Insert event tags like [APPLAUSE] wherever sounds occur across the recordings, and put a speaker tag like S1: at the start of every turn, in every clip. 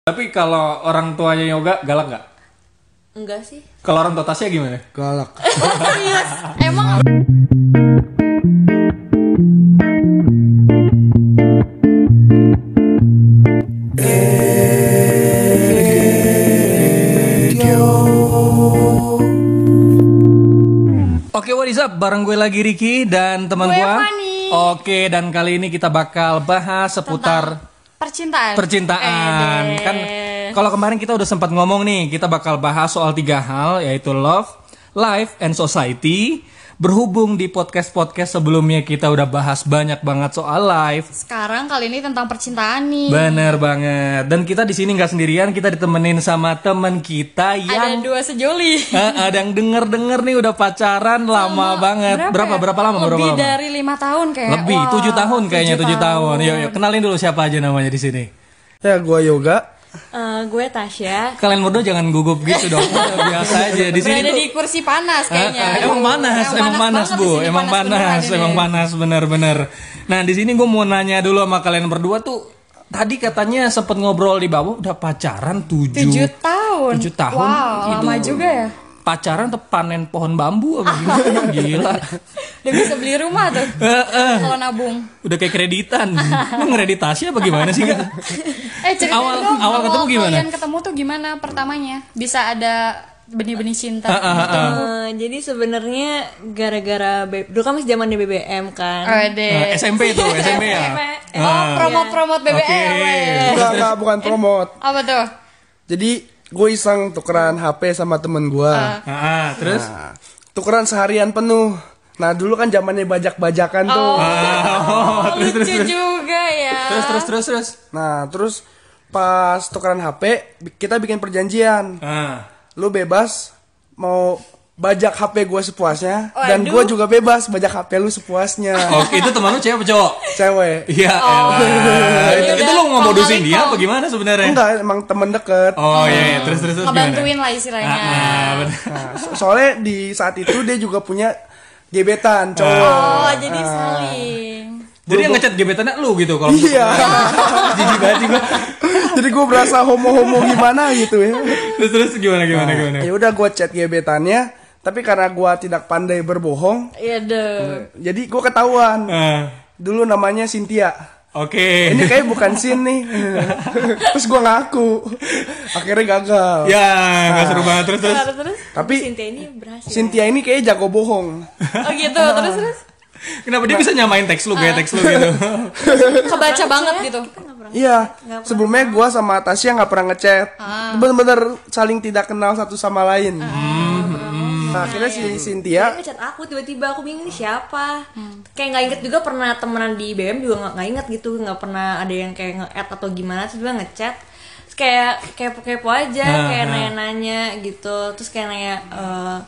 S1: Tapi kalau orang tuanya yoga galak nggak?
S2: Enggak sih.
S1: Kalau orang tua Tasya gimana?
S3: Galak.
S2: Serius?
S1: Ah,
S2: Emang
S1: Oke, what is up? Bareng gue lagi Riki dan teman
S2: Gue
S1: gue.
S2: Fani.
S1: Oke, dan kali ini kita bakal bahas seputar
S2: percintaan.
S1: percintaan.
S2: Eh, deh.
S1: Kan kalau kemarin kita udah sempat ngomong nih, kita bakal bahas soal tiga hal yaitu love, life, and society. Berhubung di podcast-podcast sebelumnya kita udah bahas banyak banget soal life.
S2: sekarang kali ini tentang percintaan nih.
S1: Bener banget. Dan kita di sini nggak sendirian, kita ditemenin sama temen kita
S2: Ada
S1: yang
S2: dua sejoli.
S1: Eh, ada yang denger-denger nih udah pacaran lama banget. Berapa Eh, berapa,
S2: ya?
S1: lama?
S2: Lebih
S1: berapa lama?
S2: dari lima tahun kayak.
S1: Lebih
S2: Wah,
S1: tujuh tahun kayaknya tujuh tahun. Yuk, yuk kenalin dulu siapa aja namanya di sini.
S3: ya gua yoga.
S2: Eh, gue Tasya.
S1: Kalian berdua jangan gugup gitu
S2: [LAUGHS]
S1: dong. Biasa aja di sini
S2: Berada
S1: tuh.
S2: di kursi panas
S1: Eh, eh,
S2: kayaknya.
S1: emang panas, emang panas,
S2: banget
S1: Bu.
S2: di sini,
S1: Emang panas,
S2: beneran
S1: emang
S2: ini.
S1: panas bener-bener. Nah, di sini gue mau nanya dulu sama kalian berdua tuh tadi katanya sempet ngobrol di bawah udah pacaran
S2: Tujuh
S1: tujuh
S2: tahun.
S1: Tujuh tahun,
S2: Wow, lama juga ya.
S1: pacaran atau panen pohon bambu apa
S2: [LAUGHS]
S1: gimana? Gila. Eh,
S2: Udah bisa beli rumah tuh. Kalau nabung.
S1: udah kayak kreditan lu ngreditasi apa gimana sih Kak?
S2: [LAUGHS] Eh ceritain
S1: Awal-
S2: dong.
S1: awal ketemu gimana?
S2: Kalian ketemu tuh gimana pertamanya? Bisa ada benih-benih cinta.
S1: Ah,
S2: gitu.
S4: Eh, jadi sebenarnya gara-gara B- dulu kan masih zamannya BBM kan.
S1: Eh,
S2: Ade.
S1: SMP itu
S2: iya,
S1: SMP ya
S2: Oh, promo-promot BBM. weh.
S1: Eh.
S3: Enggak, enggak, bukan promote.
S2: Apa tuh?
S3: Jadi gue iseng tukeran HP sama temen gua.
S1: Ah, ah, terus
S3: Nah, tukeran seharian penuh. Nah dulu kan zamannya bajak-bajakan tuh.
S1: Oh, terus terus
S2: Lucu juga ya.
S1: terus terus terus terus
S3: Nah terus pas tukeran HP bi- kita bikin perjanjian.
S1: ah
S3: Lu bebas mau bajak HP gue sepuasnya
S2: Waduh.
S3: dan gue juga bebas bajak HP lu sepuasnya.
S1: oh itu teman lu cewek apa cowok
S3: Cewek.
S1: Iya,
S2: Oh.
S1: elah. itu,
S2: Jadi
S1: itu lu
S2: udah
S1: mau modusin
S2: formalin
S1: dia
S2: dong.
S1: apa gimana sebenarnya?
S3: Enggak, emang temen deket.
S1: Oh iya, iya. terus terus terus
S2: Ngebantuin
S1: gimana?
S2: lah
S1: Ah,
S2: istilahnya.
S1: ah, bener.
S3: Nah, so- soalnya di saat itu dia juga punya gebetan
S1: Ah.
S3: cowok.
S2: Oh, jadi saling.
S1: Jadi yang ngecat gebetannya lu gitu kalau
S3: Iya. [LAUGHS]
S1: jijik banget sih gua.
S3: Jadi gue berasa homo-homo gimana gitu ya.
S1: Terus terus gimana gimana gimana?
S3: Ya udah gue chat gebetannya, tapi karena gue tidak pandai berbohong,
S2: Iya deh.
S3: jadi gue ketahuan.
S1: Ah,
S3: Dulu namanya Cynthia.
S1: Oke.
S3: Ini kayak bukan
S1: [LAUGHS]
S3: Sin nih. Terus gue ngaku. Akhirnya gagal.
S1: Ya,
S3: Nah.
S1: nggak seru banget terus terus.
S2: Terus terus.
S3: Tapi
S4: Cynthia ini berhasil.
S3: Cynthia ini kayaknya jago bohong.
S2: Oh gitu, terus terus.
S1: Kenapa dia bisa nyamain teks lu kayak
S4: Ah.
S1: teks lu
S4: [LAUGHS]
S1: gitu?
S2: Kebaca banget gitu.
S3: Iya, sebelumnya gue sama Tasya nggak pernah ngechat, bener-bener saling tidak kenal satu sama lain. Nah, akhirnya si
S4: Dia
S3: Cynthia,
S4: ngechat aku tiba-tiba aku bingung ini siapa. Kayak nggak inget juga pernah temenan di BBM juga nggak- nggak inget gitu nggak pernah ada yang kayak nge-add atau gimana terus tiba ngechat terus kayak kepo-kepo aja
S1: Ah,
S4: kayak
S1: ah.
S4: nanya-nanya gitu terus kayak nanya eh,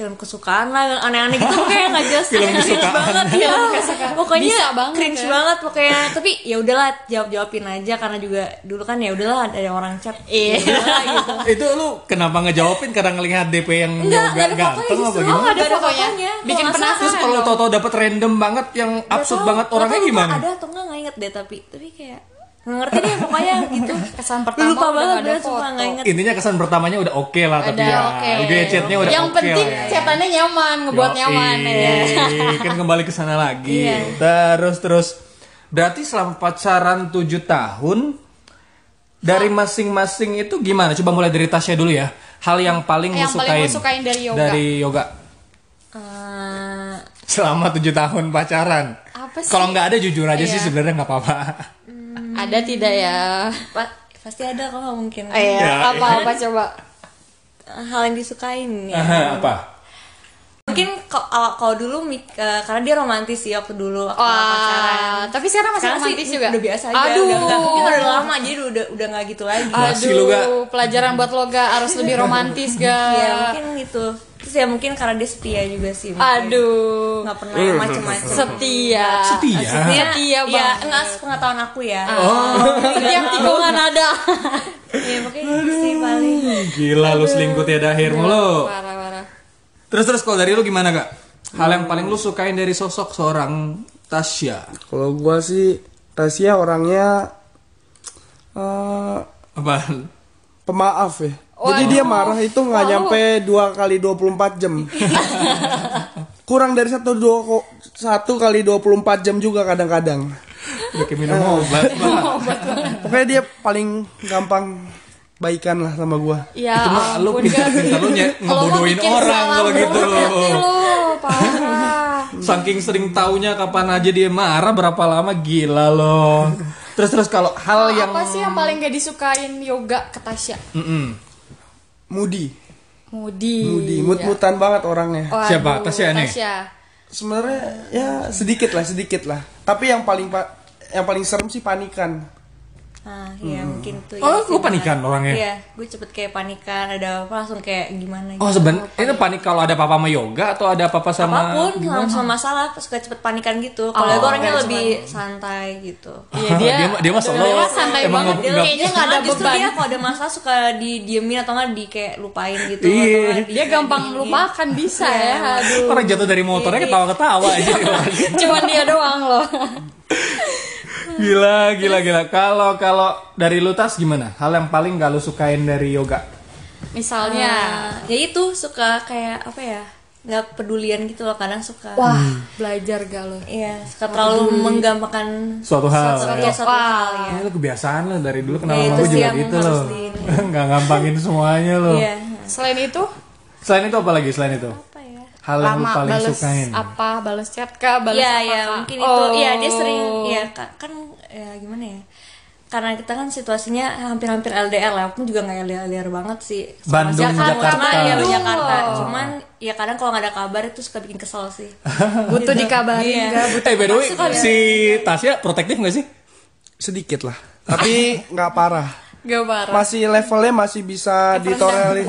S4: film kesukaan lah yang aneh-aneh gitu kayak nggak jelas
S1: Film
S4: kayak cringe
S1: kesukaan.
S4: banget ya pokoknya
S2: Bisa banget
S4: cringe
S2: ya.
S4: banget pokoknya tapi ya udahlah jawab jawabin aja karena juga dulu kan ya udahlah ada orang chat iya gitu
S1: itu lu kenapa ngejawabin karena ngelihat DP yang
S4: Enggak,
S1: nggak
S4: nggak ada
S1: ganteng
S4: fotonya
S1: apa
S4: justru.
S1: gimana?
S4: Nggak ada
S2: Nggak ada
S4: fotonya.
S2: fotonya.
S4: Kalau
S2: Bikin
S4: nggak salah.
S2: penasaran
S1: Terus kalau
S2: dong.
S1: tau-tau dapet random banget yang absurd
S4: Nggak tahu,
S1: banget orangnya
S4: nggak tahu
S1: gimana?
S4: Ada atau enggak nggak inget deh tapi tapi kayak nggak ngerti deh pokoknya
S2: [LAUGHS]
S4: gitu.
S2: Kesan pertama
S4: lupa
S2: udah
S4: banget
S2: nggak ada
S4: bener sumpah
S2: foto.
S4: nggak inget.
S1: Intinya kesan pertamanya udah oke lah tapi
S2: Udah
S1: ya.
S2: oke.
S1: Juga ya, chatnya udah
S2: Yang
S1: oke
S2: penting
S1: lah ya.
S2: chatannya nyaman, [LAUGHS] ngebuat
S1: Yoi,
S2: nyaman
S1: [LAUGHS]
S2: ya. Iya.
S1: kan kembali ke sana lagi. Terus terus berarti selama pacaran 7 tahun dari masing-masing itu gimana? Coba mulai dari Tasya dulu ya. Hal yang paling lu
S2: Yang
S1: sukain,
S2: paling lu sukain dari yoga.
S1: Dari yoga.
S4: Eh,
S1: Selama 7 tahun pacaran.
S2: Apa sih?
S1: Kalau nggak ada jujur aja sih
S2: Iya.
S1: sebenarnya nggak apa-apa.
S2: Ada tidak ya?
S4: pa- pasti ada kok nggak mungkin.
S2: Eh,
S1: Ya,
S2: apa apa coba?
S4: Hal yang disukain ya.
S1: Aha,
S2: Iya.
S1: [LAUGHS] apa?
S4: Mungkin kok- kalau kalau dulu mik- eh, karena dia romantis sih waktu dulu waktu pacaran.
S2: Wah, tapi sekarang masih
S4: Sekarang sih
S2: romantis juga.
S4: udah biasa aja.
S2: Aduh.
S4: Udah, nggak- mungkin udah lama jadi udah udah nggak gitu lagi.
S1: Masih lu, Ga.
S2: Aduh, pelajaran buat lo ga harus lebih romantis ga.
S4: Ya mungkin gitu. Terus ya mungkin karena dia setia juga sih. mungkin.
S2: Aduh,
S4: Nggak pernah yang macem-macem.
S2: setia.
S1: Setia.
S4: Setia,
S2: Setia
S4: ya
S2: banget. Ah.
S4: enggak sepengetahuan aku ya.
S2: Oh, Setiap tikungan ada.
S4: Iya mungkin itu sih paling.
S1: Gila lu selingkuh tiada akhir mulu.
S2: Parah-parah.
S1: Terus terus kalau dari lu gimana, Kak? Hal
S2: Hmm.
S1: yang paling lu sukain dari sosok seorang Tasya?
S3: kalau gue sih Tasya orangnya eh,
S1: Apa Apaan?
S3: pemaaf ya. Jadi dia marah itu nggak nyampe dua kali 24 jam. Kurang dari satu dua ko- satu kali 24 jam juga kadang-kadang.
S1: Udah kayak minum obat.
S2: [LAUGHS]
S1: Bang.
S3: Pokoknya dia paling gampang baikan lah sama gua.
S2: Ya,
S1: Itu mah lu
S2: ampun,
S1: pintar
S2: Gak.
S1: pintar lu nye-
S2: Kalau lu
S1: ngebodohin
S2: bikin
S1: orang
S2: salah
S1: kalau gitu.
S2: banget nih Lu parah.
S1: Saking sering taunya kapan aja dia marah berapa lama gila loh. Terus terus kalau hal yang
S2: Apa sih yang paling gak disukain yoga ke Tasya?
S1: Mm-mm.
S3: Mudi,
S2: Mudi.
S3: mudi, mut-mutan banget orangnya.
S2: Waduh,
S1: Siapa? Tasya nih?
S3: Sebenarnya ya sedikit lah, sedikit lah. Tapi yang paling pa- yang paling serem sih panikan.
S4: Ah, iya mungkin tuh.
S1: Oh,
S4: ya,
S1: lu
S4: sih,
S1: panikan
S4: benar.
S1: orangnya?
S4: Iya, gue cepet kayak panikan, ada apa langsung kayak gimana gitu.
S1: Oh sebenarnya ini panik kalau ada papa sama yoga atau ada papa sama
S4: Apapun, langsung masalah, suka cepet panikan gitu.
S1: Oh,
S4: Kalau gue orangnya lebih santai gitu.
S2: Iya, dia,
S1: [LAUGHS] dia mah- dia mah solo.
S2: mah santai
S1: Emang
S2: banget.
S1: nggak-
S2: Dia kayaknya gak ada
S4: Nah, justru
S2: beban.
S4: dia kalau ada masalah suka didiemin atau nggak di kayak lupain gitu.
S1: Iya.
S4: atau nggak di-
S2: Dia gampang lupakan bisa ya.
S4: Iya.
S2: Aduh.
S1: Kan orang jatuh dari motornya ketawa-ketawa aja. [LAUGHS]
S2: Cuman dia doang loh.
S1: gila gila gila. Kalau kalau dari lu tas gimana? Hal yang paling gak lu sukain dari yoga?
S2: Misalnya.
S4: Nah, ya itu suka kayak apa ya? nggak pedulian gitu loh kadang suka.
S2: Wah,
S1: Hmm.
S2: belajar gak lo?
S4: Iya, suka terlalu menggampangkan
S1: Suatu hal.
S4: suatu,
S1: ya.
S4: ya, suatu hal ya.
S1: Ini lu kebiasaan lo dari dulu kenal
S4: Ya,
S1: sama
S4: itu
S1: gue
S4: sih
S1: juga
S4: yang
S1: gitu
S4: harus
S1: loh.
S4: di-
S1: [LAUGHS] Nggak ngampangin semuanya loh.
S4: Iya.
S2: Selain itu,
S1: Selain itu apa lagi? Selain itu
S4: Apa ya?
S1: hal yang lu
S2: lama
S1: paling
S2: balas
S1: sukain?
S2: apa? Balas chat kah? Balas
S4: Iya,
S2: apa
S4: ya,
S2: kah?
S4: mungkin itu.
S2: Oh.
S4: Iya, dia sering ya ka- kan ya gimana ya? Karena kita kan situasinya hampir-hampir LDR lah, aku juga nggak LDR banget sih. Sama
S1: Bandung,
S4: Jakarta,
S1: Jakarta.
S4: Cuman, ya,
S2: Bandung. Oh.
S4: Jakarta. Cuman ya kadang kalau nggak ada kabar itu suka bikin kesel
S1: [LAUGHS]
S4: sih.
S2: Butuh dikabarin
S4: Iya.
S2: nggak?
S1: Eh by the way, si Tasya protektif gak sih? [LAUGHS]
S3: Sedikit lah. Tapi nggak parah.
S2: Gak parah.
S3: Masih levelnya masih bisa ditoreli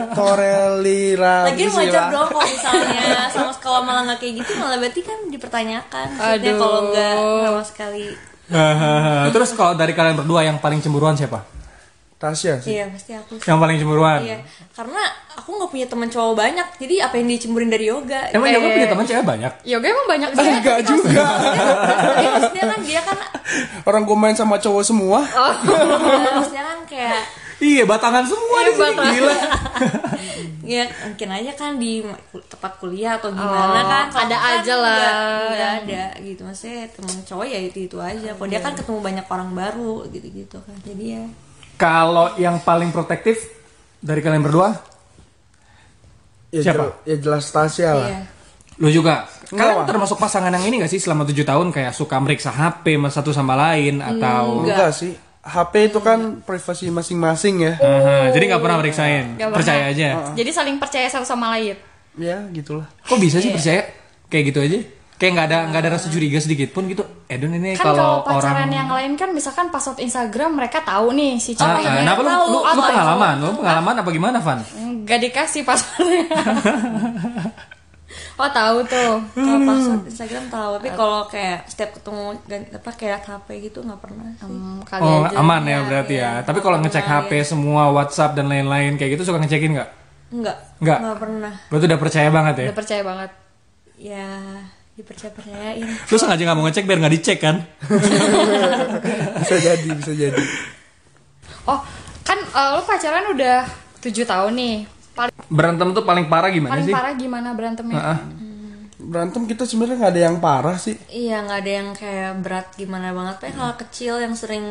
S3: torelira.
S4: Lagian wajar dong kalau misalnya sama sekolah malah nggak kayak gitu malah berarti kan dipertanyakan. Maksudnya
S2: Aduh.
S4: kalau nggak sama sekali.
S1: Hahaha. Terus kalau dari kalian berdua yang paling cemburuan siapa?
S3: Tasya sih.
S4: Iya, pasti aku
S1: Yang paling cemburuan?
S4: Iya, karena aku nggak punya teman cowok banyak, jadi apa yang dicemburin dari yoga?
S1: Emang
S2: Eh.
S1: yoga punya teman cewek banyak?
S2: Yoga emang banyak banget.
S3: Enggak juga.
S4: Tapi maksudnya kan dia kan,
S3: Orang gue main sama cowok semua.
S4: Oh. maksudnya kan kayak,
S1: Iya, batangan semua di sini.
S2: [LAUGHS]
S1: Gila.
S4: ya mungkin aja kan di kul- tempat kuliah atau gimana
S2: Oh,
S4: kan? Kalau
S2: ada
S4: kan
S2: aja lah.
S4: nggak- nggak ada gitu, maksudnya teman cowok ya itu itu aja. Kalau dia kan ketemu banyak orang baru gitu-gitu kan, jadi ya.
S1: Kalau yang paling protektif dari kalian berdua,
S3: Ya,
S1: Siapa?
S3: jel- ya jelas Tasya lah.
S4: Iya.
S1: lu juga. Kalian
S3: Enggak, Wak.
S1: termasuk pasangan yang ini gak sih selama tujuh tahun kayak suka meriksa HP sama satu sama
S2: Hmm,
S1: lain atau
S3: Enggak sih. HP itu kan privasi masing-masing ya.
S1: Aha, jadi nggak pernah meriksain,
S2: Nggak pernah.
S1: percaya aja.
S2: Jadi saling percaya satu sama lain.
S3: Ya
S4: [LAUGHS]
S3: gitulah.
S1: Kok bisa
S2: Iya.
S1: sih percaya? Kayak gitu aja? Kayak nggak ada nggak ada rasa curiga sedikit pun gitu. Edon ini
S2: Kan kalau
S1: kalau
S2: pacaran
S1: orang
S2: yang lain kan misalkan password Instagram mereka tahu nih si
S1: Ah,
S2: cowok
S1: ah,
S2: ini
S1: kenapa lu,
S2: tahu
S1: lu, lu
S2: atau-
S1: pengalaman? Lu pengalaman apa gimana, Van?
S2: [LAUGHS] Nggak dikasih passwordnya. oh tahu tuh.
S4: Kalau password Instagram tahu, tapi kalau kayak setiap ketemu gan- apa kayak liat HP gitu nggak pernah sih.
S2: Hmm, kali
S1: Oh,
S2: aja.
S1: aman ya berarti
S4: Iya,
S1: ya. Tapi kalau ngecek HP semua, WhatsApp dan lain-lain kayak gitu suka ngecekin nggak?
S4: Enggak.
S1: Nggak.
S4: Nggak pernah.
S1: Berarti udah percaya banget ya.
S2: Udah percaya banget.
S4: Ya dipercaya percayain.
S1: Lu sengaja nggak mau ngecek biar nggak dicek kan?
S3: Bisa jadi, bisa jadi.
S2: Oh, kan eh, lu pacaran udah 7 tahun nih. Paling,
S1: Berantem tuh paling parah gimana
S2: paling
S1: sih?
S2: parah gimana berantemnya?
S1: Heeh.
S3: Berantem kita sebenarnya nggak ada yang parah sih.
S4: Iya nggak ada yang kayak berat gimana banget. Kayak hal kecil yang sering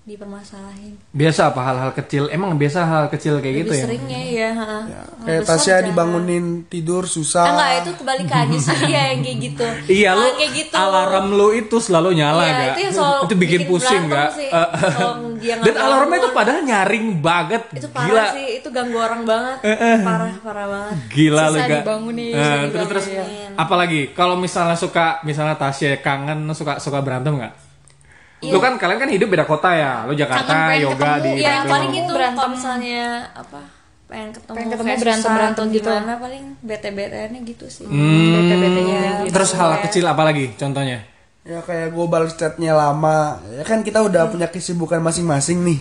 S4: dipermasalahin.
S1: Biasa apa hal-hal kecil? Emang biasa hal kecil kayak gitu
S4: Lebih
S1: ya?
S4: seringnya ya. ha. Kalau
S3: Kayak
S4: besar
S3: Tasya
S4: jarang.
S3: dibangunin tidur susah.
S4: Ah, enggak itu
S1: [LAUGHS]
S4: kebalikan justru dia yang kayak gitu.
S1: Iya
S4: Hal
S1: lu
S4: kayak gitu.
S1: alarm lu itu selalu nyala
S4: Iya,
S1: gak?
S4: itu yang selalu
S1: bikin
S4: bikin
S1: pusing
S4: berantem
S1: gak?
S4: sih.
S1: Eh,
S4: Kalau dia nggak
S1: Dan
S4: bangun.
S1: alarmnya itu padahal nyaring banget.
S4: itu parah
S1: Gila. Eh,
S4: sih, itu ganggu orang banget. parah parah banget.
S1: Gila lu
S2: Susah
S1: gak?
S2: dibangunin,
S1: Eh,
S2: susah
S1: terus terus apalagi kalau misalnya suka misalnya Tasya kangen suka suka berantem gak? Lu kan kalian kan hidup beda kota ya. Lu
S2: Kangen
S1: Jakarta,
S2: pengen
S1: yoga
S2: ketemu,
S1: di
S4: Iya yang
S1: Bandung.
S4: paling itu
S2: Berantem.
S4: kalau misalnya apa pengen ketemu,
S2: Pengen ketemu
S4: kayak
S2: berantem-
S4: susah
S2: berantem
S4: atau
S2: gitu.
S4: gimana paling bete betenya gitu sih.
S2: Hmm.
S1: Terus hal kecil apalagi contohnya?
S3: Ya kayak gue balas chatnya lama. Ya kan kita udah punya kesibukan masing-masing nih.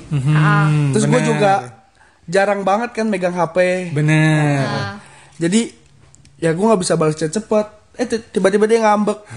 S3: Terus gue juga jarang banget kan megang HP.
S1: Bener.
S3: Jadi ya gue nggak bisa balas chat cepet. Eh ti- tiba-tiba dia ngambek.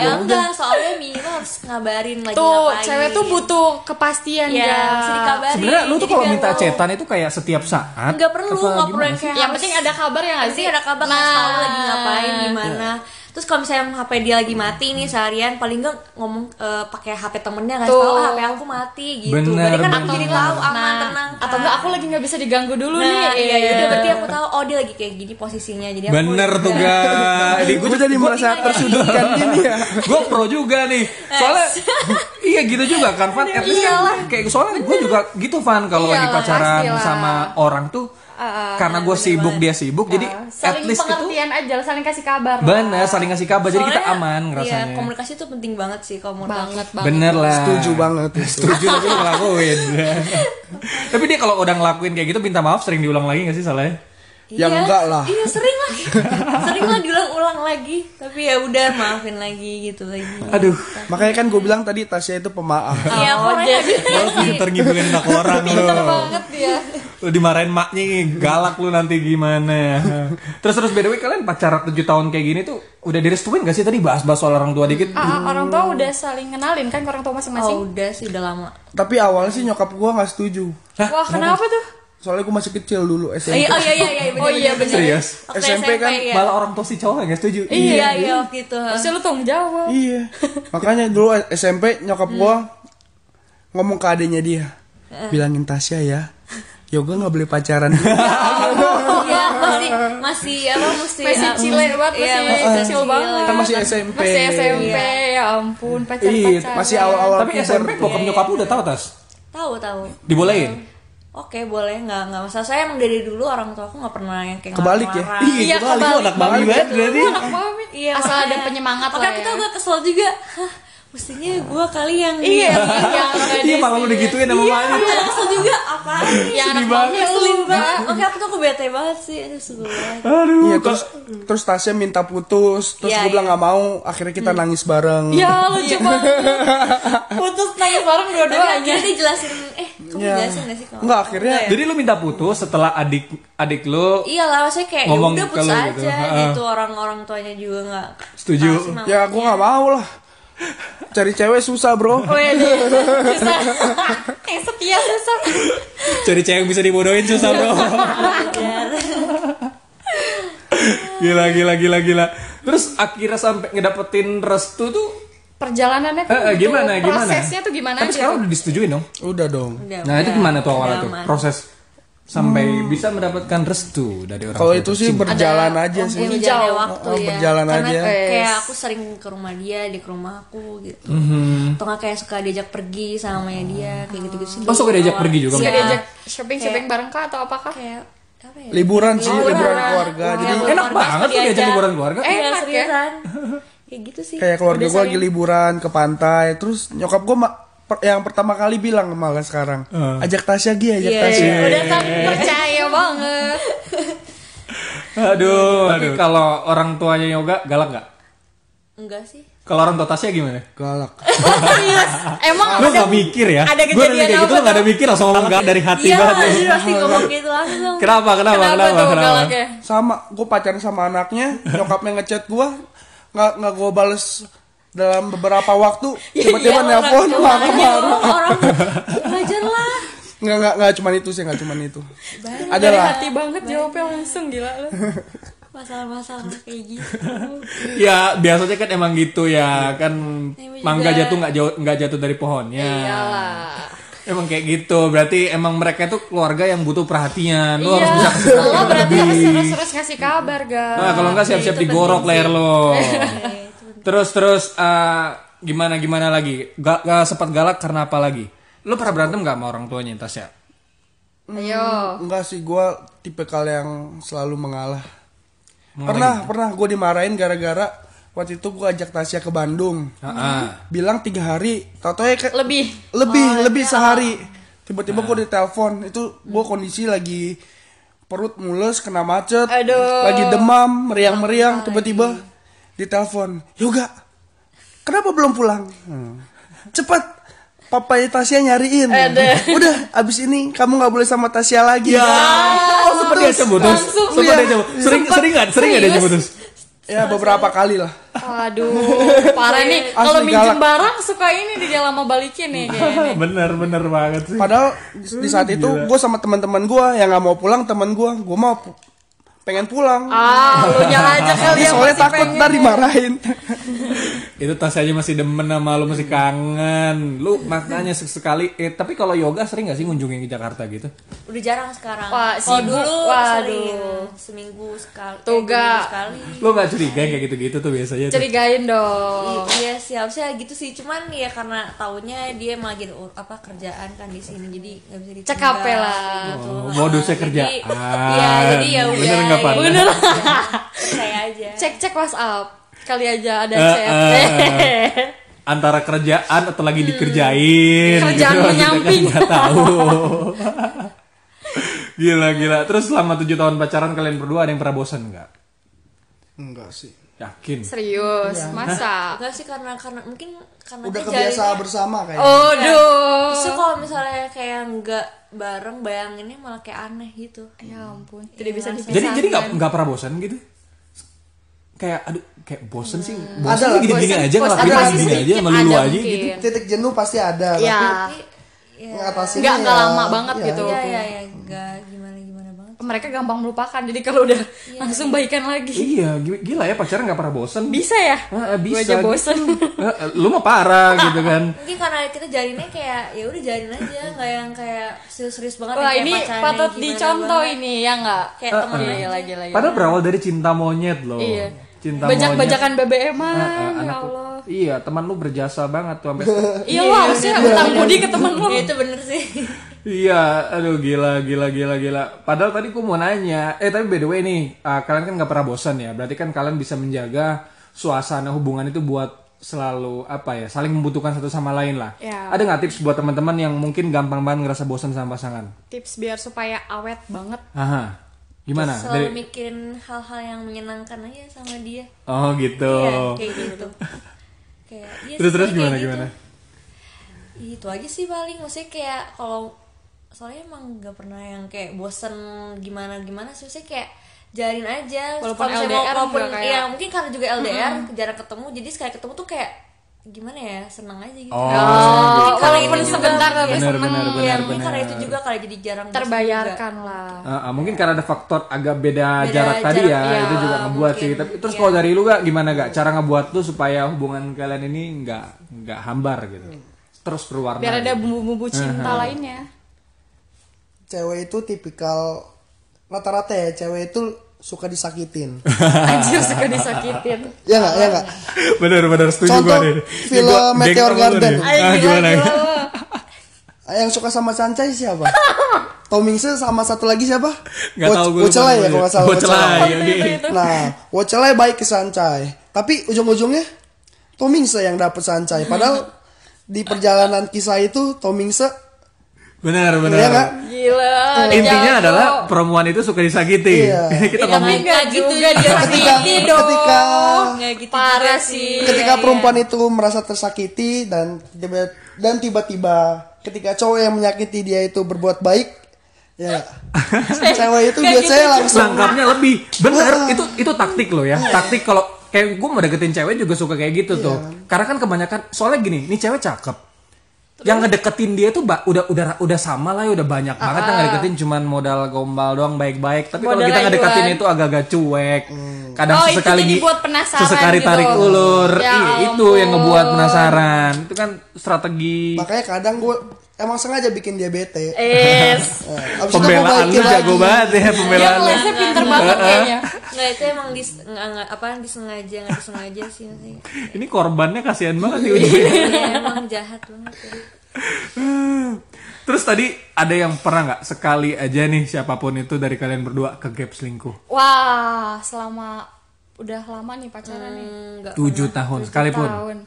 S4: ya enggak soalnya minimal harus ngabarin lagi
S2: Tuh,
S4: ngapain.
S2: cewek tuh butuh kepastian
S4: ya harus
S2: ya.
S4: dikabarin
S1: Sebenarnya lu tuh
S4: Jadi
S1: kalau
S4: biar
S1: minta
S4: tahu.
S1: cetan itu kayak setiap saat.
S4: Nggak perlu,
S1: apa
S4: nggak perlu
S1: gimana
S4: yang
S1: sih?
S4: kayak
S2: Yang
S4: harus-
S2: penting ada kabar ya nggak
S4: Nanti
S2: sih?
S4: ada kabar
S2: nah,
S4: ngasih tahu lagi ngapain gimana. Terus kalau misalnya HP dia lagi mati nih seharian paling enggak ngomong eh, pakai HP temennya ngasih
S2: Tuh.
S4: tahu HP aku mati gitu.
S1: Bener,
S4: berarti kan aku
S1: bener.
S4: jadi tahu aman
S2: Nah,
S4: tenang.
S2: atau enggak aku lagi nggak bisa diganggu dulu nih.
S4: Nah, iya,
S2: Iya.
S4: udah berarti aku tahu oh dia lagi kayak gini posisinya. Jadi aku Iya.
S1: Bener
S4: udah-
S2: [LAUGHS]
S1: tuh gak
S3: gue jadi merasa
S1: [LAUGHS]
S3: tersudutkan gini ya
S1: gue pro juga nih soalnya iya gitu juga kan Van at least kan kayak soalnya gue juga gitu Van kalau lagi
S2: Iyalah,
S1: pacaran
S2: pastilah. Uh-uh,
S1: sama orang tuh karena gue sibuk dia sibuk jadi at
S2: Saling
S1: least itu
S2: pengertian aja, lah, saling kasih kabar. lah.
S1: bener saling ngasih kabar jadi kita
S4: Soalnya,
S1: aman
S4: iya,
S1: ngerasanya
S4: komunikasi itu penting banget sih kalau menurut aku.
S2: banget banget.
S1: bener lah [LAUGHS]
S3: setuju banget itu
S1: setuju tapi lu ngelakuin [LAUGHS] tapi dia kalau udah ngelakuin kayak gitu minta maaf sering diulang lagi gak sih salahnya
S3: Ya enggak lah.
S4: Iya sering lah, [LAUGHS] sering lah diulang-ulang lagi. Tapi ya udah maafin lagi gitu lagi.
S1: aduh
S3: makanya kan gue bilang tadi Tasya itu pemaaf
S4: Iya, orangnya
S1: lo pinter ngibulin anak orang lo
S2: Pinter banget dia.
S1: lu dimarahin maknya galak lu nanti gimana terus terus by the way kalian pacaran 7 tahun kayak gini tuh udah direstuin gak sih tadi bahas-bahas soal orang tua dikit
S2: Ah, ah, orang tua udah saling kenalin kan ke orang tua
S4: Oh,
S2: masing-masing.
S4: udah sih udah lama.
S3: tapi awalnya sih nyokap gue nggak setuju
S2: Wah, kenapa tuh?
S3: soalnya gue masih kecil dulu
S4: Oh
S3: SMP
S4: iya iya iya iya
S2: Oh, iya,
S4: bener.
S1: Serius?
S4: Waktu
S3: SMP kan
S4: ya.
S1: malah orang tua si cowok gak setuju
S4: Iya iya waktu itu.
S3: [LAUGHS]
S2: Harusnya lu tanggung jawab.
S3: iya makanya dulu SMP nyokap gue ngomong ke adenya dia bilangin Tasya ya Yoga nggak boleh pacaran
S4: Iya masih masih apa mesti
S2: Masih
S4: ah,
S2: cile banget,
S4: iya,
S2: masih kecil banget.
S3: Kan masih SMP.
S2: Masih SMP, ya ampun,
S3: Iya,
S2: pacar-pacaran.
S3: masih awal-awal
S1: tapi
S3: puber
S1: SMP
S3: tuh.
S1: bokap nyokap lu udah tahu tas
S4: Tahu tahu.
S1: dibolehin
S4: Oke boleh nggak nggak masalah. Saya emang dari dulu orang tua aku nggak pernah yang kayak
S3: Kebalik ya?
S4: ngelarang.
S2: Iya,
S1: kebalik.
S2: kebalik
S1: Lu anak mami banget berarti
S2: anak mami.
S4: Iya,
S2: Asal
S4: makanya.
S2: ada penyemangat lah
S4: Makanya aku
S2: ya.
S4: tuh agak kesel juga. Hah, mestinya gue kali yang
S2: Iya,
S1: [LAUGHS]
S2: yang
S1: iya malah lu digituin sama mami
S4: Aku agak kesel juga apa?
S2: Yang anak mami lu.
S4: Keselin banget. Oke aku tuh aku bete banget sih. Aduh sebel banget.
S1: aduh
S3: Iya terus terus Tasya minta putus terus
S4: Iya,
S3: gue bilang
S4: iya.
S3: nggak mau akhirnya kita nangis bareng
S2: Ya lucu
S4: [LAUGHS]
S2: banget. Putus nangis bareng
S4: Ah, Tapi
S2: dua-duanya.
S4: akhirnya dia jelasin, eh kamu
S3: Iya.
S4: jelasin gak sih? kalau-
S3: Nggak, akhirnya
S4: Nggak ya?
S1: jadi lu minta putus setelah adik adik lu
S4: Iya lah, maksudnya kayak ya
S1: Ngomong
S4: udah
S1: ke
S4: putus
S1: lu
S4: aja
S1: gitu.
S4: gitu,
S1: Ha-ha.
S4: orang-orang tuanya juga nggak Iya.
S1: Setuju.
S4: kasih mama.
S3: ya aku nggak mau lah cari cewek susah bro
S4: Oh, iya.
S2: Wede, susah. Eh, setia susah.
S1: cari cewek yang bisa dibodohin susah bro gila gila gila gila terus akhirnya sampai ngedapetin restu tuh
S2: Perjalanannya tuh
S1: eh, eh,
S2: gitu,
S1: gimana gimana
S2: Prosesnya tuh gimana
S1: tapi
S2: aja?
S1: sekarang udah disetujuin dong
S3: udah dong
S4: Udah,
S1: Nah itu
S4: Ya udah.
S1: gimana tuh awalnya tuh
S4: Nyaman.
S1: proses sampai bisa mendapatkan restu dari orang
S3: kalau
S1: tua
S3: itu sih
S1: tercinta?
S3: berjalan aja sih
S4: Iya,
S2: hijau.
S4: jalannya waktu
S3: Oh,
S4: ya.
S3: berjalan
S4: Karena
S3: aja.
S4: kayak aku sering ke rumah dia, dia ke rumah aku gitu. Atau nggak kayak suka diajak pergi sama dia, kayak gitu-gitu sih.
S1: Mm-hmm. Oh, suka diajak
S4: Awal-
S1: pergi juga
S4: Iya.
S2: Suka
S1: Mbak?
S2: diajak shopping-shopping bareng kah atau apakah?
S4: kayak apa ya?
S3: liburan sih liburan keluarga jadi
S4: Iya,
S1: enak
S4: keluarga
S1: banget
S4: suka
S1: tuh diajak
S4: diajak.
S1: liburan keluarga.
S4: Iya,
S2: Enak ya.
S4: seriusan. Kayak gitu sih.
S3: kayak keluarga
S4: Udah
S3: gue lagi
S4: saling-
S3: liburan ke pantai terus nyokap gue yang pertama kali bilang malah sekarang
S1: Eh.
S3: ajak Tasya Gi ajak
S4: Iya,
S3: Tasya
S2: Udah saling percaya banget.
S1: Aduh, tapi kalau orang tuanya yoga galak nggak?
S4: Enggak sih.
S1: Kalau orang tua Tasya gimana?
S3: galak
S2: Serius, emang
S1: Lu
S2: ada
S1: nggak mikir ya?
S2: ada
S1: Gue
S2: kejadian
S1: kayak gitu
S2: apa
S1: lu nggak ada mikir langsung ngomong galak dari hati
S4: Iya,
S1: banget.
S4: [LAUGHS] dia pasti ngomong gitu langsung.
S1: Kenapa? Kenapa?
S2: kenapa
S1: Kenapa?
S2: tuh ya?
S1: Kenapa?
S2: galaknya?
S3: sama gue pacaran sama anaknya nyokapnya ngechat gue nggak nggak gue bales dalam beberapa
S2: [LAUGHS]
S3: waktu
S2: Iya,
S3: tiba-tiba nelpon marah-marah
S4: orang belajar lah
S3: nggak nggak nggak cuman itu sih nggak cuman itu ada
S2: Dari
S3: lah
S2: hati banget jawabnya langsung gila lu.
S4: masalah-masalah kayak gitu
S1: Ya biasanya kan emang gitu ya kan
S2: Iya,
S4: Ini
S1: mangga
S4: juga.
S1: jatuh nggak jauh nggak jatuh dari pohonnya. Emang kayak gitu, berarti emang mereka itu keluarga yang butuh perhatian. Lu harus
S2: Iya,
S1: bisa
S2: [LAUGHS]
S1: kasih
S2: lo
S1: perhatian
S2: berarti
S1: lebih.
S2: harus terus-terus ngasih kabar,
S1: [LAUGHS] Nah,
S2: ga?
S1: kalau enggak siap-siap digorok leher
S2: [LAUGHS] Iya,
S1: lo. terus terus eh, gimana gimana lagi? Gak, sempat galak karena apa lagi? Lo pernah berantem gak sama orang tuanya ya? Tasya?
S2: Ayo.
S3: Enggak sih, gue tipikal yang selalu mengalah. Pernah, pernah gue dimarahin gara-gara waktu itu gue ajak Tasya ke Bandung.
S1: Heeh.
S3: Bilang tiga hari, tau ya kayak
S2: Lebih. Oh, iya. Ah.
S3: lebih, lebih sehari. Tiba-tiba gue ditelepon, itu gue kondisi lagi perut mules, kena macet,
S2: Aduh.
S3: lagi demam, meriang-meriang, tiba-tiba ditelepon. Yoga, kenapa belum pulang? Hmm. Cepat, papanya Tasya nyariin.
S2: Aduh.
S3: [LAUGHS] Udah, abis ini kamu nggak boleh sama Tasya lagi.
S1: Ya. Oh, sempat diajak putus.
S2: Langsung,
S1: Sempat
S3: iya.
S1: diajak. Sering sering enggak? Sering enggak diajak putus?
S3: Ya beberapa kali lah.
S2: Waduh, parah nih. Kalau
S3: Asli
S2: minjem
S3: galak.
S2: barang suka ini di jalan mau balikin nih
S1: Iya.
S2: kayaknya.
S5: bener bener banget sih
S3: Padahal di saat itu gue sama teman-teman gue yang nggak mau pulang teman gue, gue mau pu- pengen pulang.
S2: Ah, lu aja kali
S3: Dia
S2: ya.
S3: soalnya takut ntar dimarahin.
S1: itu tas aja masih demen sama lu masih kangen lu makanya sekali eh, tapi kalau yoga sering gak sih ngunjungin ke Jakarta gitu
S4: Udah jarang sekarang.
S2: Wah,
S4: Kalau
S2: sibuk.
S4: dulu
S2: Waduh.
S4: sering seminggu sekali. eh,
S2: Tuh,
S4: dua minggu
S2: Gak.
S4: sekali.
S1: lu nggak curiga kayak gitu gitu tuh biasanya tuh?
S2: Cerigain dong.
S4: I- Iya sih harusnya gitu sih cuman ya karena taunya dia emang lagi ada ur- apa kerjaan kan di sini jadi nggak bisa ditunda.
S2: Cekap ya lah.
S4: Gitu.
S1: Oh, modusnya
S4: Jadi-
S1: kerjaan.
S4: Iya jadi ya udah.
S1: Ah, Bener nggak, Pan?
S4: gitu.
S2: [LAUGHS]
S1: Bener.
S4: Percaya aja.
S2: Cek-cek WhatsApp. Kali aja ada
S1: Eh,
S2: chat.
S1: eh, [LAUGHS] antara kerjaan atau lagi dikerjain
S2: Hmm. Kerjaan
S1: gitu, maksudnya
S2: menyamping.
S1: kan nggak
S2: [LAUGHS]
S1: tahu gila gila terus selama tujuh tahun pacaran kalian berdua ada yang pernah bosan nggak
S3: [LAUGHS] Enggak sih.
S1: yakin
S2: [LAUGHS] Serius, masa? Ya
S4: Enggak sih karena karena mungkin karena
S3: Udah
S4: dia
S3: kebiasaan
S4: jalannya-
S3: bersama kayaknya.
S2: Oh,
S4: Justru kalau misalnya kayak nggak bareng bayanginnya malah kayak aneh gitu.
S2: Ya ampun, tidak bisa dipisahkan.
S1: jadi jadi nggak nggak pernah bosan gitu kayak aduh kayak bosan sih
S2: Hmm.
S1: bosan
S3: Ada
S1: sih
S3: lah,
S1: gini-gini
S2: bosan.
S1: aja
S2: Bosan
S1: ngelakuin
S2: pasti
S1: gini aja
S2: sedikit
S1: sama lu
S2: ada
S1: aja
S2: mungkin.
S1: gitu
S3: Titik jenuh pasti ada. kan? Iya,
S2: Ya,
S3: Tapi
S2: nggak nggak lama banget gitu.
S4: Iya iya iya nggak gimana gimana banget.
S2: Mereka gampang melupakan. Jadi kalau udah langsung baikan lagi.
S1: iya gi- gila ya pacaran nggak pernah bosan
S2: Bisa ya?
S1: Ah, ah, bisa
S2: Gue aja
S1: gitu. [LAUGHS]
S2: bosen.
S1: Ah, ah, lu mah parah gitu kan
S4: Mungkin karena kita jarinnya kayak ya udah jarin aja nggak yang kayak serius-serius banget.
S2: Wah,
S4: yang kayak
S2: ini
S4: pacaran
S2: patut
S4: yang gimana
S2: dicontoh
S4: banget.
S2: ini ya nggak? Kayak
S4: Ah,
S2: temen [LAUGHS] iya, lagi lagi.
S1: padahal berawal dari cinta monyet loh
S2: Iya.
S1: cinta monyet
S2: Bajak-bajakan BBM-an,
S1: Ah, ah,
S2: ya
S1: anak-
S2: Allah.
S1: iya teman lu berjasa banget tuh sampai
S2: Iya lo harusnya utang budi ke temen lo.
S4: Ya itu bener sih.
S1: Iya, aduh gila, gila, gila, gila. Padahal tadi gue mau nanya, eh tapi by the way nih, ah, kalian kan nggak pernah bosan ya. Berarti kan kalian bisa menjaga suasana hubungan itu buat selalu apa ya, saling membutuhkan satu sama lain lah.
S2: Ya.
S1: Ada nggak tips buat teman-teman yang mungkin gampang banget ngerasa bosan sama pasangan?
S2: Tips biar supaya awet banget.
S1: Aha, gimana?
S4: Selalu
S1: Dari-
S4: mikirin hal-hal yang menyenangkan aja sama dia.
S1: Oh gitu.
S4: Iya kayak gitu. kayak iya
S1: terus
S4: sih,
S1: terus
S4: kayak
S1: gimana
S4: gitu.
S1: gimana?
S4: itu aja sih paling maksudnya kayak kalau soalnya emang nggak pernah yang kayak bosen gimana gimana sih maksudnya kayak jalin aja
S2: Walaupun
S4: Kalau misalnya
S2: LDR
S4: walaupun
S2: juga kayak-
S4: ya mungkin karena juga LDR jarang ketemu jadi sekali ketemu tuh kayak gimana ya seneng aja gitu
S1: Oh,
S2: Oh,
S1: gitu.
S2: walaupun sebentar tapi
S1: Bener,
S2: seneng.
S1: bener, bener,
S4: ya mungkin
S1: bener.
S4: karena itu juga kali jadi jarang bosen
S2: terbayarkan lah.
S1: Ah, ah, mungkin karena ada faktor agak beda,
S4: Beda
S1: jarak tadi ya,
S4: jarak, iya,
S1: itu juga ngebuat sih. Tapi terus kalau dari lu gak gimana gak cara ngebuat tuh supaya hubungan kalian ini nggak nggak hambar gitu, terus berwarna.
S2: Biar ada
S1: gitu.
S2: bumbu-bumbu cinta lainnya.
S3: Cewek itu tipikal rata-rata ya cewek itu suka disakitin.
S2: Anjir suka disakitin.
S3: ya enggak, ya enggak.
S1: bener bener setuju
S3: Contoh
S1: gua nih.
S3: film
S1: Ini gua
S3: Meteor
S1: geng sama lu
S3: Garden.
S1: nih. [LAUGHS]
S4: Iya,
S1: Ah, gimana?
S3: Yang suka sama Sanchez siapa? Tomingse sama satu lagi siapa?
S1: Gak
S3: Wo-
S1: tau gue.
S3: Wocelai ya kalau nggak salah. Wocelai.
S1: oke.
S3: Nah, Wocelai baik ke Sancai. Tapi ujung-ujungnya Tomingse yang dapet Sancai. Padahal di perjalanan kisah itu Tomingse
S1: Bener bener.
S3: Iya, Kak.
S2: Gila.
S1: Intinya
S2: jago.
S1: adalah perempuan itu suka disakiti. [LAUGHS]
S3: Iya.
S1: Kita
S2: Tapi
S1: ngomong
S2: nggak gitu
S4: juga
S2: dia
S3: ketika
S2: sakiti dong.
S3: ketika
S4: nggak gitu
S2: Parah
S4: juga
S2: sih.
S3: ketika perempuan itu merasa tersakiti dan tiba dan tiba-tiba ketika cowok yang menyakiti dia itu berbuat baik ya cewek itu
S2: nggak
S3: biasanya
S2: gitu
S3: langsung
S1: Selangkapnya lebih bener itu itu taktik loh ya taktik kalau kayak gue mau deketin cewek juga suka kayak gitu tuh
S2: Iya.
S1: karena kan kebanyakan soalnya gini ini cewek cakep yang ngedeketin dia tuh ba- udah udah udah sama lah ya udah banyak
S2: Ah,
S1: banget yang ngedeketin cuman modal gombal doang baik-baik tapi kalau
S2: Modal
S1: kita ngedeketin
S2: rayuan.
S1: itu agak-agak cuek kadang
S2: Oh, itu
S1: sesekali
S2: jadi
S1: gi-
S2: buat penasaran
S1: sesekali
S2: gitu.
S1: tarik ulur
S2: Ya
S1: Iya, itu
S2: ampun.
S1: yang ngebuat penasaran itu kan strategi
S3: makanya kadang gue emang sengaja bikin dia bete
S2: Es.
S3: [LAUGHS] Eh, abis itu gue
S1: pembelaan
S3: baikin
S1: lu jago
S3: lagi.
S1: banget ya
S2: Dia
S1: pembelaan lu.
S2: kelasnya pinter
S1: Iya.
S2: banget kayaknya.
S4: nggak itu emang dis nggak nggak apa disengaja nggak disengaja sih
S1: [LAUGHS]
S4: maksudnya
S1: ini korbannya kasihan banget sih ujungnya
S4: Iya, emang jahat banget ya.
S1: Terus tadi ada yang pernah nggak sekali aja nih siapapun itu dari kalian berdua ke gap selingkuh?
S2: Wah, selama udah lama nih pacaran nih.
S4: nggak
S1: Tujuh tahun Hmm. sekalipun.
S2: Tahun.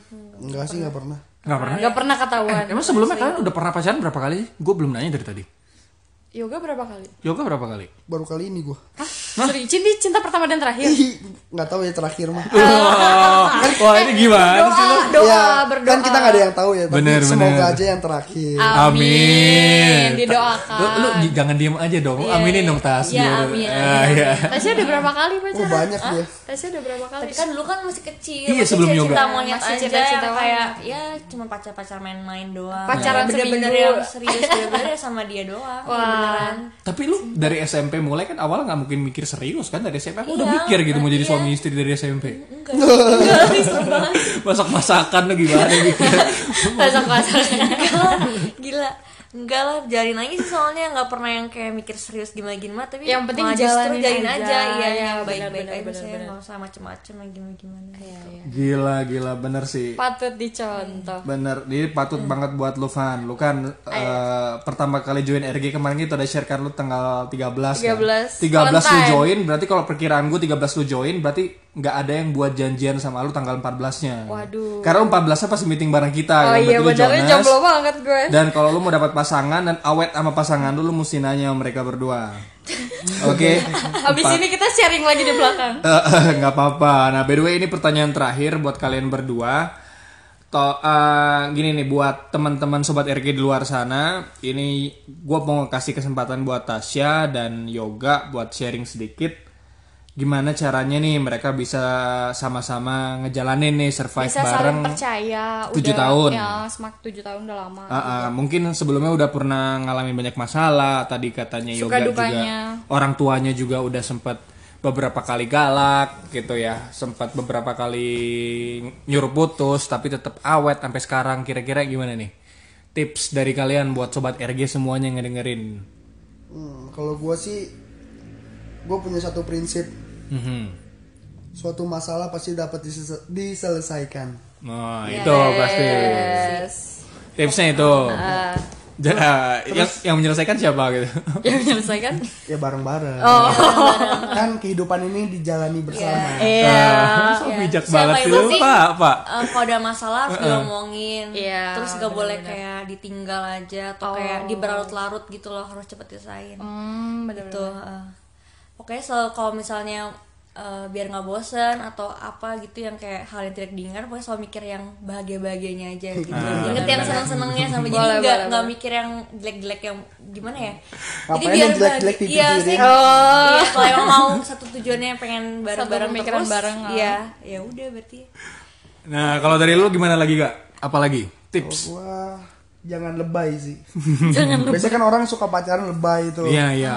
S3: enggak sih enggak pernah
S1: Nggak pernah.
S2: Gak pernah ketahuan.
S1: Emang sebelumnya kalian udah pernah pacaran berapa kali sih? Gue belum nanya dari tadi.
S2: Yoga berapa kali?
S1: Yoga berapa kali?
S3: baru kali ini gue
S2: Sorry, cinta, cinta pertama dan terakhir.
S3: Ih, nggak tahu ya terakhir mah
S1: Wah, Oh, wah ini gimana sih lu?
S4: doa, doa,
S3: ya,
S4: berdoa.
S3: kan kita nggak ada yang tahu ya tapi
S1: Bener,
S3: semoga
S1: bener.
S3: aja yang terakhir
S1: Ah. Amin.
S2: Didoakan.
S1: Lu, lu j- jangan diem aja dong. aminin dong tas.
S4: Iya,
S1: biar-
S4: amin,
S1: Ah,
S4: amin,
S1: iya.
S2: Tasya udah berapa kali
S3: oh
S1: Uh.
S2: pacaran?
S3: banyak dia
S2: Tasya udah berapa kali?
S4: Tapi kan dulu kan masih kecil.
S1: Iya,
S4: masih
S1: sebelum
S4: cinta
S1: yoga.
S4: monyet
S2: Masih
S4: aja
S2: cinta-cinta
S4: yang kayak ya cuma pacar-pacar main-main doang.
S2: Pacaran
S4: Ya, bener-bener
S2: seminggu.
S4: yang serius bener-bener ya sama dia doang. Iya, beneran.
S1: Tapi lu dari SMP mulai kan awal nggak mungkin mikir serius kan dari SMP aku udah
S4: Iya,
S1: mikir gitu mau jadi
S4: iya.
S1: suami istri dari SMP. [LAUGHS]
S4: Enggak.
S2: [LAUGHS]
S4: Enggak serem banget.
S1: Masak masakan lu gimana gitu. mikir.
S2: Pasang pasang.
S4: Enggak, Gila. Enggak lah, jalanin aja sih soalnya nggak pernah yang kayak mikir serius gimana-gimana tapi
S2: Yang penting
S4: malah justru
S2: jalanin
S4: jalanin
S2: aja.
S4: aja,
S2: Iya,
S4: iya yang baik-baik
S2: bener-bener,
S4: aja sih
S2: bener-bener.
S4: nggak usah macem-macem yang gimana-gimana.
S2: Iya.
S4: gitu.
S1: gila gila bener sih.
S2: Patut dicontoh.
S1: Bener, jadi patut
S2: Hmm.
S1: banget buat lu Van. Lu kan eh, pertama kali join RG kemarin itu ada share kan lu tanggal 13 kan? 13
S2: 13.
S1: lu
S2: Valentine.
S1: join, berarti kalau perkiraan gue 13 lu join, berarti nggak ada yang buat janjian sama lu tanggal 14-nya.
S2: Waduh.
S1: Karena 14-nya pas meeting bareng kita
S2: Oh
S1: kan? Berarti
S2: iya
S1: lu
S2: benernya
S1: Jonas.
S2: jomblo banget gue.
S1: Dan kalau lu mau dapat pasangan dan awet sama pasangan lu, lu mesti nanya sama mereka berdua.
S2: [LAUGHS]
S1: Oke.
S2: Habis ini kita sharing lagi di belakang.
S1: Eh, eh, nggak apa-apa. Nah, by the way ini pertanyaan terakhir buat kalian berdua. To, eh, gini nih buat teman-teman sobat RG di luar sana, ini gue mau kasih kesempatan buat Tasya dan Yoga buat sharing sedikit gimana caranya nih mereka bisa sama-sama ngejalanin nih survive
S2: Bisa
S1: bareng.
S2: saling percaya.
S1: tujuh
S2: udah,
S1: tahun.
S2: Ya, semak tujuh tahun udah lama.
S1: Ah, ah, mungkin sebelumnya udah pernah ngalamin banyak masalah. Tadi katanya
S2: Suka
S1: Yoga
S2: dukanya.
S1: juga orang tuanya juga udah sempat beberapa kali galak gitu ya, sempat beberapa kali nyuruh putus tapi tetap awet sampai sekarang. Kira-kira gimana nih? Tips dari kalian buat sobat RG semuanya yang ngedengerin.
S3: Hmm, kalau gue sih gue punya satu prinsip
S1: Mhm.
S3: suatu masalah pasti dapat disese- diselesaikan
S1: Nah, itu pasti. Tipsnya itu.
S2: Ah.
S1: Ja- yang, yang menyelesaikan siapa gitu?
S2: Yang menyelesaikan.
S3: ya bareng-bareng kan kehidupan ini dijalani bersama
S1: [LAUGHS]
S2: Iya.
S1: Ah, so bijak
S4: Siapa
S1: banget sih
S4: yang
S1: lu,
S4: penting?
S1: Pak, Pak.
S4: Eh, kalau ada masalah harus diomongin
S2: Iya, Oh.
S4: terus gak boleh kayak ditinggal aja atau kayak diberlarut-larut gitu loh harus cepet diselesain
S2: Hmm, bener.
S4: gitu eh. pokoknya selalu kalau misalnya eh, biar nggak bosen atau apa gitu yang kayak hal yang tidak diingat pokoknya selalu mikir yang bahagia bahagianya aja
S3: Ah,
S4: gitu inget yang seneng senengnya
S2: [LAUGHS]
S4: sampai jadi
S2: Boleh,
S4: nggak
S2: boleh,
S4: nggak
S2: boleh.
S4: mikir yang jelek jelek yang gimana ya
S3: Ngapain yang jelek-jelek
S4: bahagia. iya
S3: dipikirin?
S4: sih
S2: Oh.
S4: Iya, kalau emang mau satu tujuannya pengen bareng bareng
S2: pemikiran
S4: terus
S2: bareng, ah.
S4: iya ya udah berarti
S1: Nah, kalau dari lu gimana lagi, Kak? Apalagi? Tips?
S3: Wah, jangan lebay
S2: [LAUGHS]
S3: sih. Biasanya kan orang suka pacaran lebay itu.
S1: Iya, iya.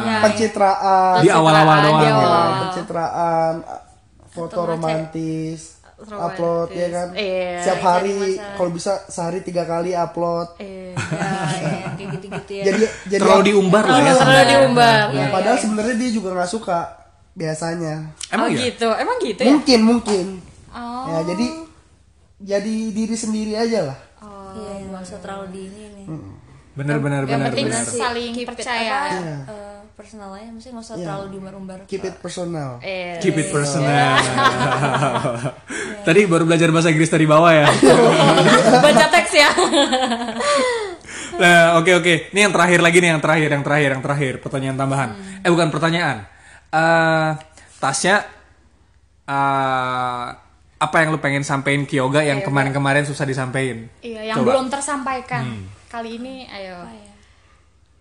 S2: Iya.
S3: Pencitraan. Iya,
S1: Di awal-awal
S2: Pencitraan,
S1: doang.
S2: di
S1: ya.
S2: awal.
S3: Pencitraan, a- foto romantis, upload ya kan.
S2: Iya,
S3: Setiap hari kalau bisa sehari tiga kali upload.
S2: Eh,
S4: ya, ya, kayak gitu gitu ya
S3: Jadi jadi
S1: Terlalu diumbar lah ya.
S2: Terlalu
S1: sebenarnya.
S2: diumbar.
S3: Nah, padahal sebenarnya dia juga nggak suka biasanya.
S1: Emang
S2: oh,
S1: ya?
S2: gitu. Emang gitu ya?
S3: Mungkin mungkin.
S2: Oh.
S3: Ya jadi jadi diri sendiri aja lah.
S4: Iya, nggak usah terlalu di ini nih
S1: Bener, bener,
S2: Yang
S1: bener,
S2: penting
S1: bener.
S2: saling
S4: Keep it,
S2: percaya.
S4: apa, eh, personalnya mesti nggak usah terlalu diumbar-umbar
S3: Keep it personal.
S2: Eh,
S1: Keep it
S2: [LAUGHS]
S1: personal. [LAUGHS] Tadi baru belajar bahasa Inggris dari bawah ya.
S2: [LAUGHS] baca teks ya.
S1: [LAUGHS] Nah, oke oke. Ini yang terakhir lagi nih, yang terakhir, yang terakhir, yang terakhir. Pertanyaan tambahan.
S2: Hmm.
S1: Eh bukan pertanyaan. Eh Tasya, eh, apa yang lu pengen sampein ke Yoga yang kemarin-kemarin susah disampaikan?
S2: Iya, yang
S1: Coba. Hmm.
S2: belum tersampaikan. Kali ini ayo.
S4: Oh, iya.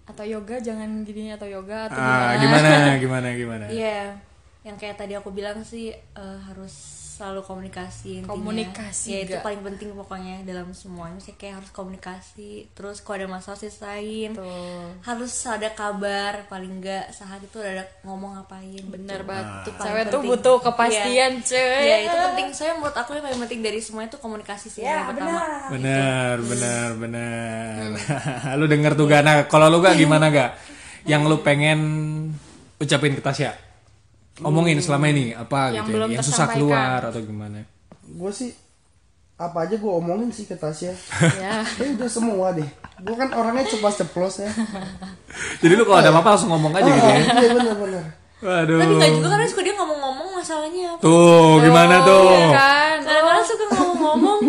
S2: Atau yoga jangan gini atau yoga atau
S1: Ah,
S2: [LAUGHS]
S1: gimana, gimana, gimana?
S4: Iya, yang kayak tadi aku bilang sih eh, harus selalu komunikasi intinya.
S2: Komunikasi
S4: ya itu
S2: juga.
S4: paling penting pokoknya dalam semuanya sih kayak harus komunikasi terus kalau ada masalah selesain harus ada kabar paling enggak saat itu udah ada ngomong ngapain
S2: bener
S4: gitu.
S2: banget.
S4: Itu paling
S2: Cewek tuh
S4: penting.
S2: butuh kepastian,
S4: Iya.
S2: cuy.
S4: Iya, itu penting soalnya menurut aku yang paling penting dari semuanya itu komunikasi sih yang pertama
S1: Bener, bener, bener. [LAUGHS] lu denger tuh gak? Nah, kalau lu gak gimana gak? Yang lu pengen ucapin ke Tasya? Omongin selama ini apa
S2: Yang
S1: gitu ya?
S2: belum
S1: Yang susah
S2: tersampaikan.
S1: keluar atau gimana?
S3: Gue sih apa aja gue omongin sih ke Tasya.
S2: Ya.
S3: [LAUGHS] Ya udah semua deh. Gue kan orangnya cepat ceplos ya.
S1: Jadi lu kalau ada apa-apa langsung ngomong aja gitu
S2: Oh.
S1: ya?
S3: Iya benar-benar.
S1: Waduh.
S4: tapi nggak juga karena suka dia ngomong-ngomong masalahnya apa
S1: Tuh, gimana tuh?
S2: Kan.
S4: kadang-kadang suka ngomong-ngomong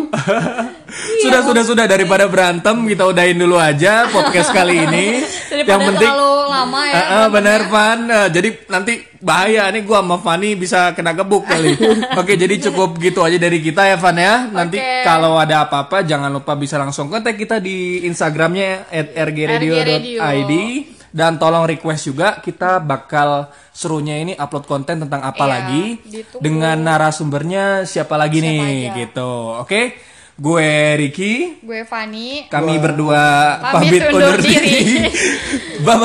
S2: Iya,
S1: sudah sudah sudah daripada berantem kita udahin dulu aja podcast kali ini.
S2: [LAUGHS] Daripada
S1: yang penting
S2: terlalu lama ya.
S1: Eh, eh, bener Van. Eh, jadi nanti bahaya nih gua sama Fani bisa kena gebuk
S2: [LAUGHS]
S1: kali. Oke, jadi cukup gitu aja dari kita ya Van ya. Nanti
S2: Oke.
S1: kalau ada apa-apa jangan lupa bisa langsung kontak kita di Instagramnya @rgradio.id dan tolong request juga kita bakal serunya ini upload konten tentang apa
S2: Iya,
S1: lagi
S2: ditunggu.
S1: dengan narasumbernya siapa lagi nih gitu. Oke. Gue Riki,
S2: Gue Fani.
S1: kami berdua
S2: Pamit
S1: pamit undur
S2: undur diri. [LAUGHS]
S1: diri. Bye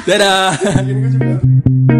S1: bye. Dadah.